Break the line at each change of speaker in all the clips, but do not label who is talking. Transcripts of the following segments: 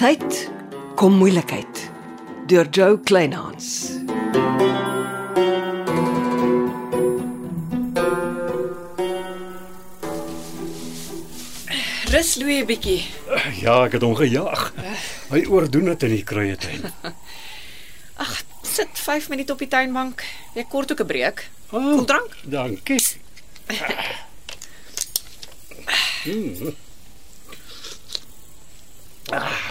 tyd kom moeilikheid deur Jo Kleinhans.
Rus Louie 'n bietjie.
Ja, ek het hom gejaag. Hy oordoen dit in die kruietuin.
Ag, sit 5 minute op die tuinbank. Jy kort ook 'n breek.
Oh,
Koeldrank?
Dankie. Mm. Ah.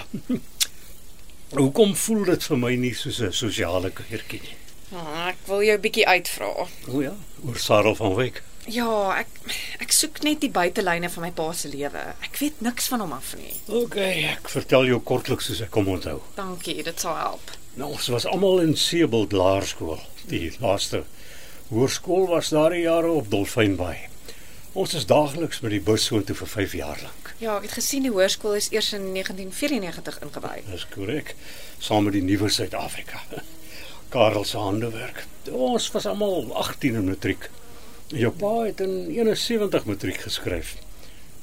Hoekom voel dit vir my nie soos 'n sosiale kuiertjie nie?
Ah, ek wil jou 'n bietjie uitvra.
O ja, oor Sarah van Wyk.
Ja, ek ek soek net die buitelyne van my pa se lewe. Ek weet niks van hom af nie.
OK, ek vertel jou kortliks soos ek kom onthou.
Dankie, dit sal help.
Nou, ons was almal in Seebald Laerskool. Die laaste hoërskool was daardie jare op Dolfynbaai. Ons is daagliks met die bus so toe vir 5 jaar lank.
Ja, ek het gesien die hoërskool is eers in 1994 ingewy.
Dis korrek. Saam met die nuwe Suid-Afrika. Karel se handewerk. Ons was almal 18 in matriek. Jou pa het in 71 matriek geskryf.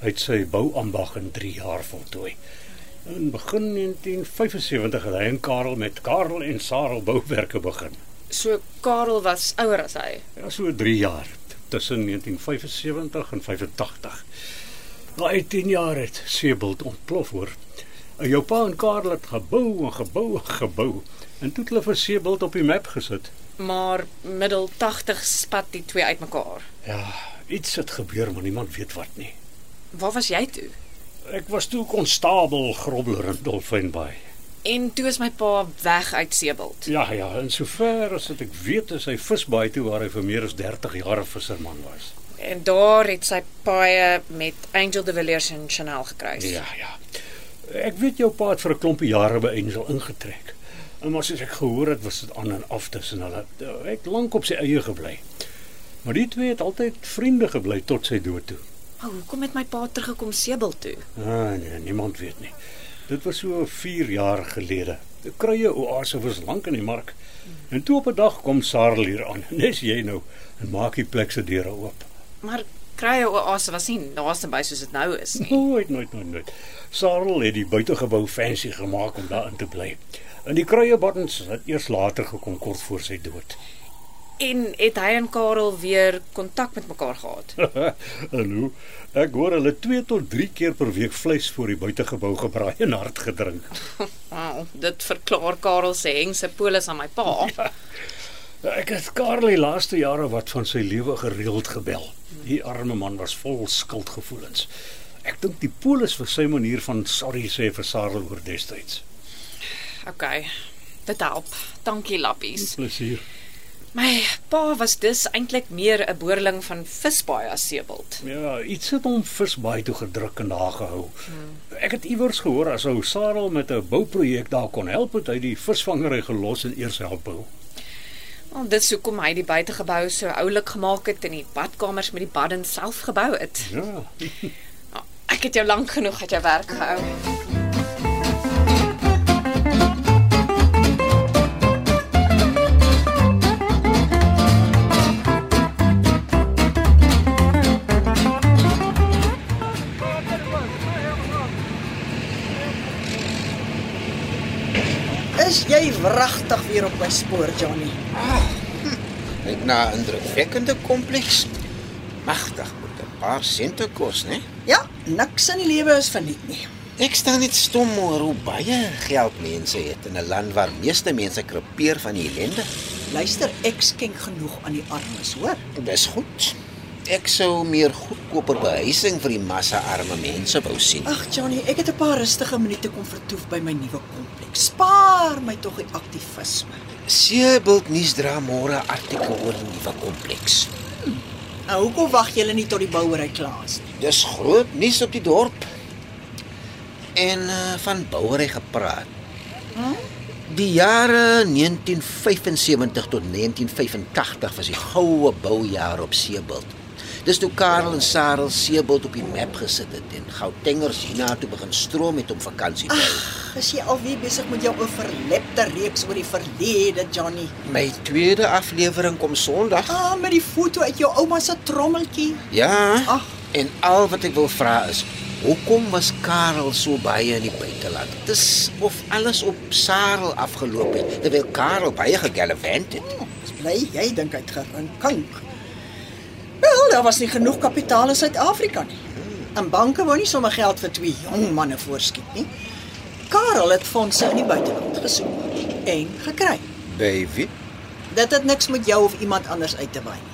Hy het sy bouambag in 3 jaar voltooi. In begin 1975 het hy en Karel met Karel en Sarah bouwerke begin.
So Karel was ouer as hy.
Ja, so 3 jaar tussen 1975 en 85. Na 18 jaar het Sebelt ontplof hoor. En Jou pa en Karl het gebou en gebou en gebou en toe het hulle vir Sebelt op die map gesit.
Maar middel 80 spat die twee uitmekaar.
Ja, iets het gebeur maar niemand weet wat nie.
Waar was jy toe?
Ek was toe konstabel Grobler in Dolfynbaai.
En toe is my pa weg uit Seebald.
Ja ja, en sover as wat ek weet is hy visbaai toe waar hy vir meer as 30 jaar 'n visserman was.
En daar het sy paai met Angel de Villiers en Chanel gekruis.
Ja, ja. Ek weet jou pa het vir 'n klompie jare by Angel ingetrek. En maar soos ek gehoor het, was dit aan en af tussen hulle. Hy het lank op sy eie gebly. Maar die twee het altyd vriende gebly tot sy dood toe.
Maar hoekom het my pa teruggekom Sebel toe?
Ah, nee, niemand weet nie. Dit was so 4 jaar gelede. Die kruie oase was lank in die mark. En toe op 'n dag kom Sarel hier aan. Nes jy nou en maak die plek se deure oop.
Maar krye oase was nie naaste by soos dit nou is nie.
Nooit, nooit, nooit, nooit. Sarel het die buitegebou fancy gemaak om daarin te bly. En die kruie buttons het eers later gekom kort voor sy dood.
En het hy en Karel weer kontak met mekaar gehad?
en hoe ek hoor hulle 2 tot 3 keer per week vleis voor die buitegebou gebraai en hard gedrink.
Wow, dit verklaar Karel se hengse polis aan my pa.
Ek het Karel die laaste jare wat van sy lewe gereeld gebel. Die arme man was vol skuldgevoelens. Ek dink die polis vir sy manier van sorry sê vir Sarel oor destyds.
Okay. Dit help. Dankie Lappies.
Plezier.
My pa was dus eintlik meer 'n boerling van Visbaai as Sebeld.
Ja, iets het hom visbaai toe gedruk en daar gehou. Hmm. Ek het iewers gehoor as ou Sarel met 'n bouprojek daar kon help, het hy die visvangery gelos en eers help bou.
Wel, dit is hoekom hy die buitegebou so oulik gemaak het en die badkamers met die baddens self gebou het.
Ja.
Nou, Ek het jou lank genoeg uit jou werk gehou.
Is jy wragtig weer op my spoor, Johnny?
Net na 'n indrukwekkende kompleks. Magtig moet 'n paar sente kos, né?
Ja, niks in die lewe is verniet nie.
Ek staan net stom oor hoe baie geld mense het in 'n land waar meeste mense krepeer van die ellende.
Luister, ek skenk genoeg aan die armes, hoor?
Dis goed. Ek sou meer goedkoper behuising vir die massa arme mense wou sien.
Ag Johnny, ek het 'n paar rustige minute kom vertoef by my nuwe kompleks. Spaar my tog die aktivisme.
Seebult nuus dra môre 'n artikel oor die nuwe kompleks.
Nou hoekom wag julle nie tot die bouery klaar is nie?
Dis groot nuus op die dorp. En uh, van bouery gepraat. Die jare 1975 tot 1985 was die goue boujaar op Seebult. Dis toe Karel en Sarel Seebult op die map gesit het en Gautengers hiernatoe begin stroom het om vakansie te hou.
Ag, is jy alweer besig met jou oorverlepte reeks oor die verlede, Johnny?
My tweede aflewering kom Sondag.
Ah, met die foto uit jou ouma se trommeltjie.
Ja.
Ag.
En al wat ek wil vra is, Hoekom was Karel so baie in die buiteland? Dis of alles op Sarel afgeloop het, terwyl Karel baie gegallivant het.
Ons bly jy dink hy het gerinkank. Wel, daar was nie genoeg kapitaal in Suid-Afrika nie. En banke wou nie sommer geld vir twee jong manne voorskiet nie. Karel het fondse in die buiteland gesoek en gekry.
Baby,
Dit het niks met jou of iemand anders uit te waai nie.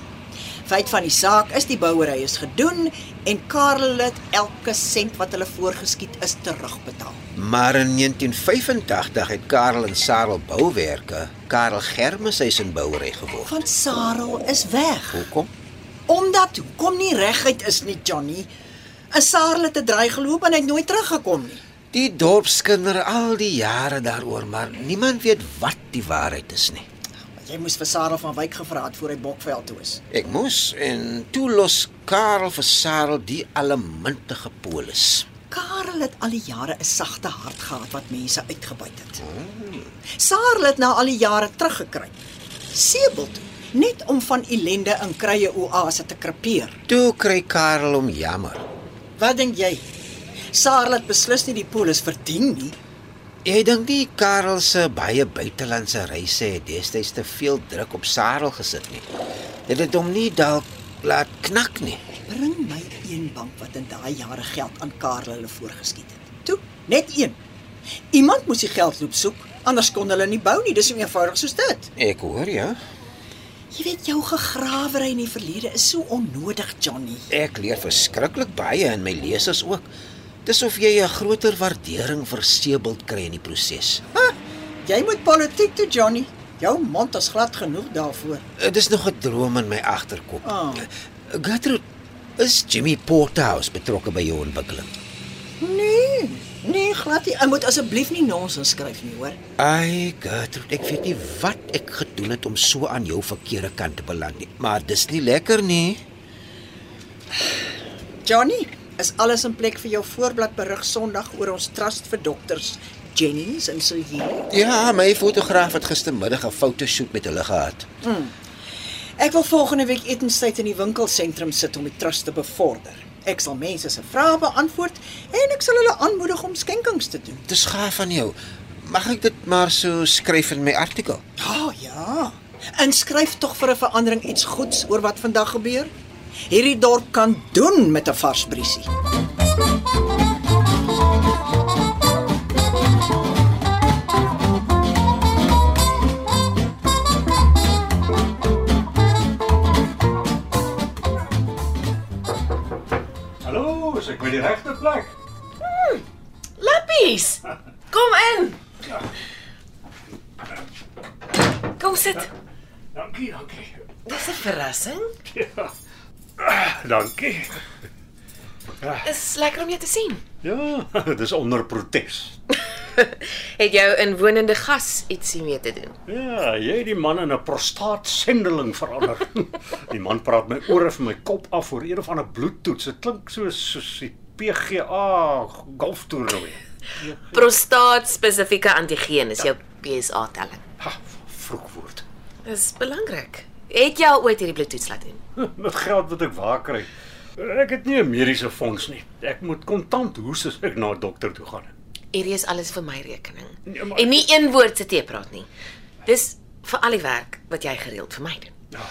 Feit van die saak is die bouery is gedoen en Karel het elke sent wat hulle voorgeskiet is terugbetaal.
maar in 1985 het Karel en Sarel bouwerke, Karel Germeshuis in bouery geword.
Van Sarel is weg.
Hoekom?
Omdat hoekom nie reguit is nie, Johnny. 'n Sarel het 'n draai geloop en hy het nooit teruggekom nie.
Die dorp skinder al die jare daaroor, maar niemand weet wat die waarheid is nie.
Want Jy moes vir Sarel van Wyk gevra het voor hy Bokveld toe is.
Ek moes en toe los Karel vir Sarel die allemintige polis.
Karel het al die jare 'n sagte hart gehad wat mense uitgebuit het. Sarel het na al die jare teruggekry. Sebel toe, net om van ellende in krye oase te krepeer.
Toe kry Karel hom jammer.
Wat dink jy? Sarel het beslis nie die polis verdien nie.
Jy dink nie Karel se baie buitelandse reise het destyds te veel druk op Sarel gesit nie. Dit het hom nie dalk laat knak nie.
Bring my een bank wat in daai jare geld aan Karel hulle voorgeskiet het. Toe, net een. Iemand moes die geld loop soek, anders kon hulle nie bou nie. Dis so eenvoudig soos dit.
Ek hoor ja.
Jy weet jou gegrawery in die verlede is so onnodig, Johnny.
Ek leer verskriklik baie en my lesers ook. Dis of jy 'n groter waardering vir Sebelt kry in die proses.
Ha, jy moet politiek toe, Johnny. Jou mond is glad genoeg daarvoor.
Eh, Dis nog 'n droom in my agterkop.
Ah.
Gertrude, is Jimmy Porterhouse betrokke by jou ontwikkeling?
Nee, nee, glad nie. Jy moet asseblief nie nonsens skryf nie, hoor.
Ai, Gertrude, ek weet nie wat ek gedoen het om so aan jou verkeerde kant te beland nie, maar dis nie lekker nie.
Johnny, is alles in plek vir jou voorblad berig Sondag oor ons trust vir dokters Jennings en Silje?
Ja, my fotograaf het gistermiddag 'n fotoshoot met hulle gehad.
Ek wil volgende week etenstyd in die winkelsentrum sit om die trust te bevorder. Ek sal mense se vrae beantwoord en ek sal hulle aanmoedig om skenkings te doen.
Dis gaaf van jou. Mag ek dit maar so skryf in my artikel?
Ja, ja. Inskryf tog vir 'n verandering iets goeds oor wat vandag gebeur. Hierdie dorp kan doen met 'n vars briesie.
Hallo, is ek by die regte plek?
Lappies. Kom in. Kom sit.
Dankie, dankie.
Dis 'n verrassing.
Ja. Dankie.
Is lekker om jou te sien.
Ja, dis onder protes.
Het jou inwonende gas ietsie mee te doen?
Ja, jy het die man in 'n prostaatsendeling verander. die man praat my ore van my kop af oor een of ander bloedtoets. Dit klink soos soos die PGA golftoernooi.
Prostaat spesifieke antigeen is jou PSA telling.
Ha, vroeg word.
Dis belangrik. Het jy al ooit hierdie bloedtoets laat doen?
Met geld wat ek waar kry. Ek het nie 'n mediese fonds nie. Ek moet kontant hoes as ek na 'n dokter toe gaan.
Hierdie is alles vir my rekening.
Nee, maar-
En nie een woord se tee praat nie. Dis vir al die werk wat jy gereeld vir my doen.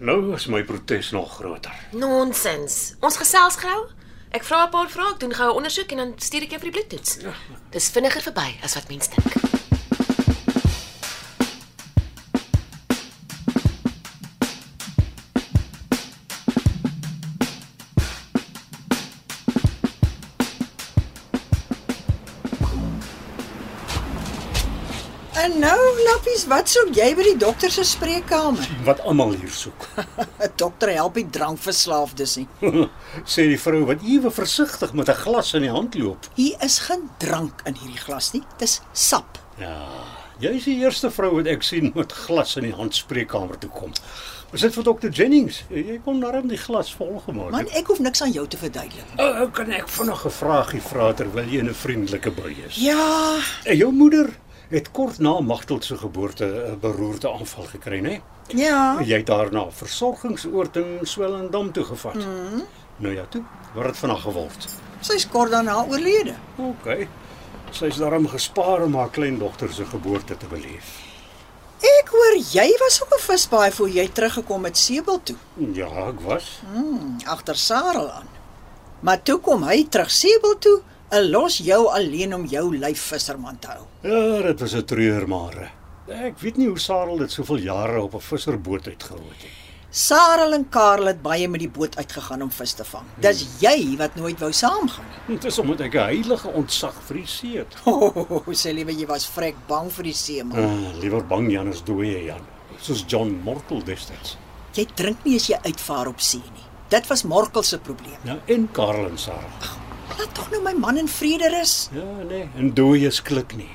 Nou is my protes nog groter.
Nonsens. Ons gesels gou. Ek vra 'n paar vrae, ek doen goue ondersoek en dan stuur ek jou vir die bloedtoets. Dis vinniger verby as wat mense dink.
En nou, Lappies, wat soek jy by die dokter se spreekkamer?
Wat almal hier soek.
'n Dokter help nie drankverslaafdes nie.
Sê die vrou wat ewe versigtig met 'n glas in die hand loop.
Hier is geen drank in hierdie glas nie. Dis sap.
Ja, jy is die eerste vrou wat ek sien met glas in die hand spreekkamer toe kom. Is dit vir dokter Jennings? Jy kon darm die glas volgemaak
Man,
het.
ek hoef niks aan jou te verduidelik. nie.
Oh, oh, kan ek vinnig 'n vraagie vra terwyl jy in 'n vriendelike bui is?
Ja,
Eh, En jou moeder het kort na Magtel se geboorte 'n beroerte eh, aanval gekry, né?
Ja.
Jy het daarna versorgingsoord in Swellendam toe gevat. Nou ja, toe. Wat het van haar geword?
Sy's kort daarna oorlede.
OK. Sy's daarom gespaar om haar kleindogter se geboorte te beleef.
Ek hoor jy was op 'n visbaai voor jy teruggekom het Sebel toe,
Ja, ek was.
agter Sarel aan. Maar toe kom hy terug Sebel toe, en los jou alleen om jou lyf visserman te hou.
Ja, dit was 'n treurmare. Ek weet nie hoe Sarel dit soveel jare op 'n visserboot uitgehou het. nie.
Sarel en Karel het baie met die boot uitgegaan om vis te vang. Dis jy wat nooit wou saamgaan.
Dit is omdat ek 'n heilige ontzag vir die see het.
O, oh, sê liewe jy was vrek bang vir die see man.
Uh, liewer bang Jan as dooie Jan, soos John Morkel destyds.
Jy drink nie as jy uitvaar op see nie. Dit was Morkel se probleem.
Nou en Karel en Sarel.
Laat tog nou my man in vrede rus.
Ja, nee, en dooies klik nie.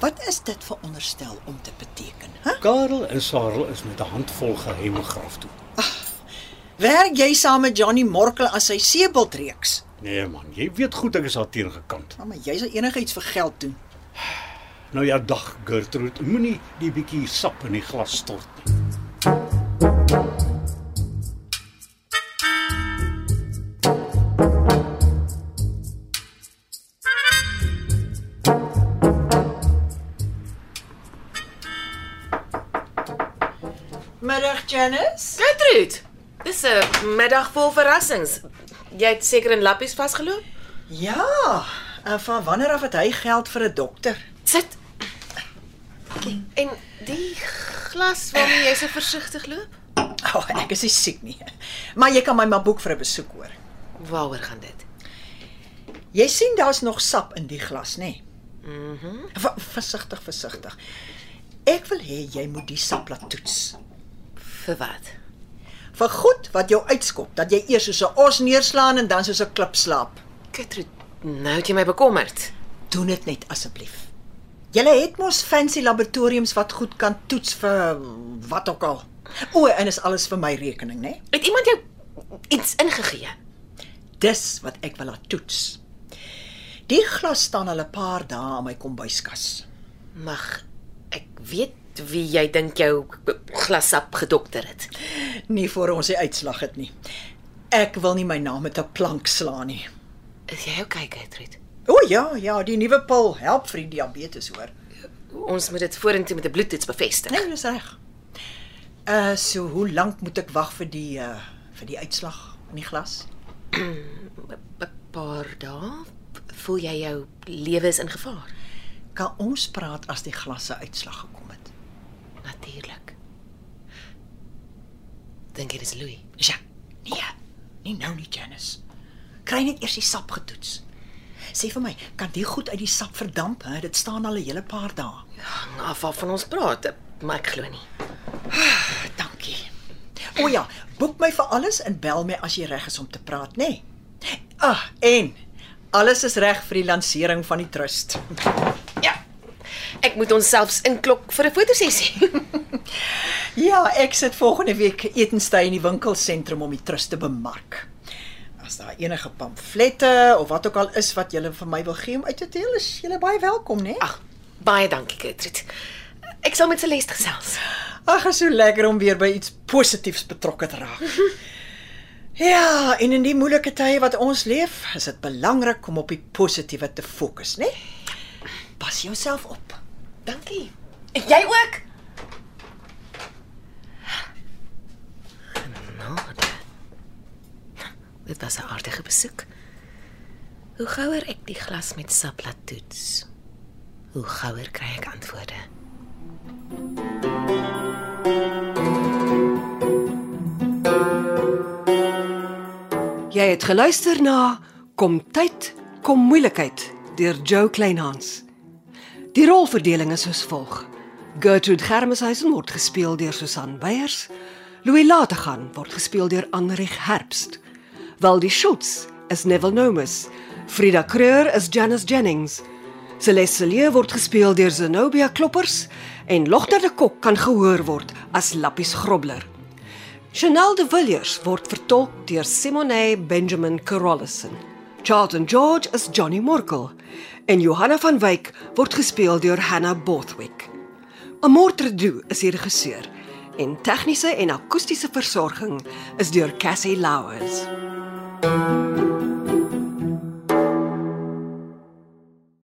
Wat is dit vir onderstel om te beteken, hè?
Karel en Sarel is met 'n handvol geheime graf toe.
Werk jy saam met Johnny Morkel aan sy seebildreeks?
Nee man, jy weet goed ek is daar teen gekant.
Ja, maar jy sal enigiets vir geld doen.
Nou ja, dag Gertrude, moenie die bietjie sap in die glas stort nie.
Middag Janice.
Gertrude, dis 'n middag vol verrassings. Jy het seker in lappies vasgeloop?
Ja, en van wanneer af het hy geld vir 'n dokter?
Sit. En die glas waarmee jy so versigtig loop?
O, oh, ek is nie siek nie. Maar jy kan my maar boek vir 'n besoek hoor.
Waaroor gaan dit?
Jy sien daar's nog sap in die glas, nê? Nee? Mhm. Mm versigtig, versigtig. Ek wil hê jy moet die sap laat toets.
Vir wat?
Vir goed wat jou uitskop, dat jy eers soos 'n os neerslaan en dan soos 'n klip slaap.
Gertrude, nou het jy my bekommerd.
Doen dit net asseblief. Julle het mos fancy laboratoriums wat goed kan toets vir wat ook al. O, en is alles vir my rekening, né?
Het iemand jou iets ingegee?
Dis wat ek wil laat toets. Die glas staan al 'n paar dae aan my kombuiskas.
Mag ek weet wie jy dink jou glasap gedokter het?
Nie voor ons die uitslag het nie. Ek wil nie my naam met 'n plank slaan nie.
Is jy okay, Gertrude?
O ja, ja, die nuwe pil help vir die diabetes hoor.
Ons moet dit vorentoe met 'n bloedtoets bevestig.
Nee, dis reg. Uh so hoe lank moet ek wag vir die uh vir die uitslag in die glas?
'n Paar dae voel jy jou lewe is in gevaar.
Kan ons praat as die glas se uitslag gekom het?
Natuurlik. Dink jy dis Louis?
Ja. Nee. Nie nou nie, Janice. Kry net eers die sap getoets. Sê vir my, kan die goed uit die sap verdamp? Hè? Dit staan al 'n hele paar dae.
Hang af waarvan ons praat, maar ek glo nie.
Dankie. O ja, boek my vir alles en bel my as jy reg is om te praat, nê? Nee. Ah, en alles is reg vir die lansering van die trust.
Ja. Ek moet onsselfs inklok vir 'n fotosessie.
Ja, ek sit volgende week etenstyd in die winkelsentrum om die trust te bemark. As daar enige pamflette of wat ook al is wat julle vir my wil gee om uit te deel, is julle baie welkom, né? Nee?
Ag, baie dankie, Gertrude. Ek sal met Celeste gesels.
Ag, is so lekker om weer by iets positiefs betrokke te raak. Ja, en in die moeilike tye wat ons leef, is dit belangrik om op die positiewe te fokus, né? Nee? Pas jouself op.
Dankie. En jy ook? Genade. Dit was 'n aardige besoek. Hoe gouer ek die glas met sap laat toets, hoe gouer kry ek antwoorde.
Jy het geluister na Kom tyd, kom moeilikheid deur Jo Kleinhans. Die rolverdeling is soos volg: Gertrude Germeshuisen word gespeel deur Susan Beyers, Louis Lategan word gespeel deur Anrich Herbst, Waldie Schultz is Neville Nomus, Frida Kreur is Janice Jennings. Celeste Lee word gespeel deur Zenobia Kloppers en Logter de Kok kan gehoor word as Lappies Grobler. Chanel de Villiers word vertolk deur Simone Benjamin Carolison. Charlton George is Johnny Morkel en Johanna van Wyk word gespeel deur Hannah Bothwick. Amortredu is die regisseur en tegniese en akoestiese versorging is deur Cassie Louws.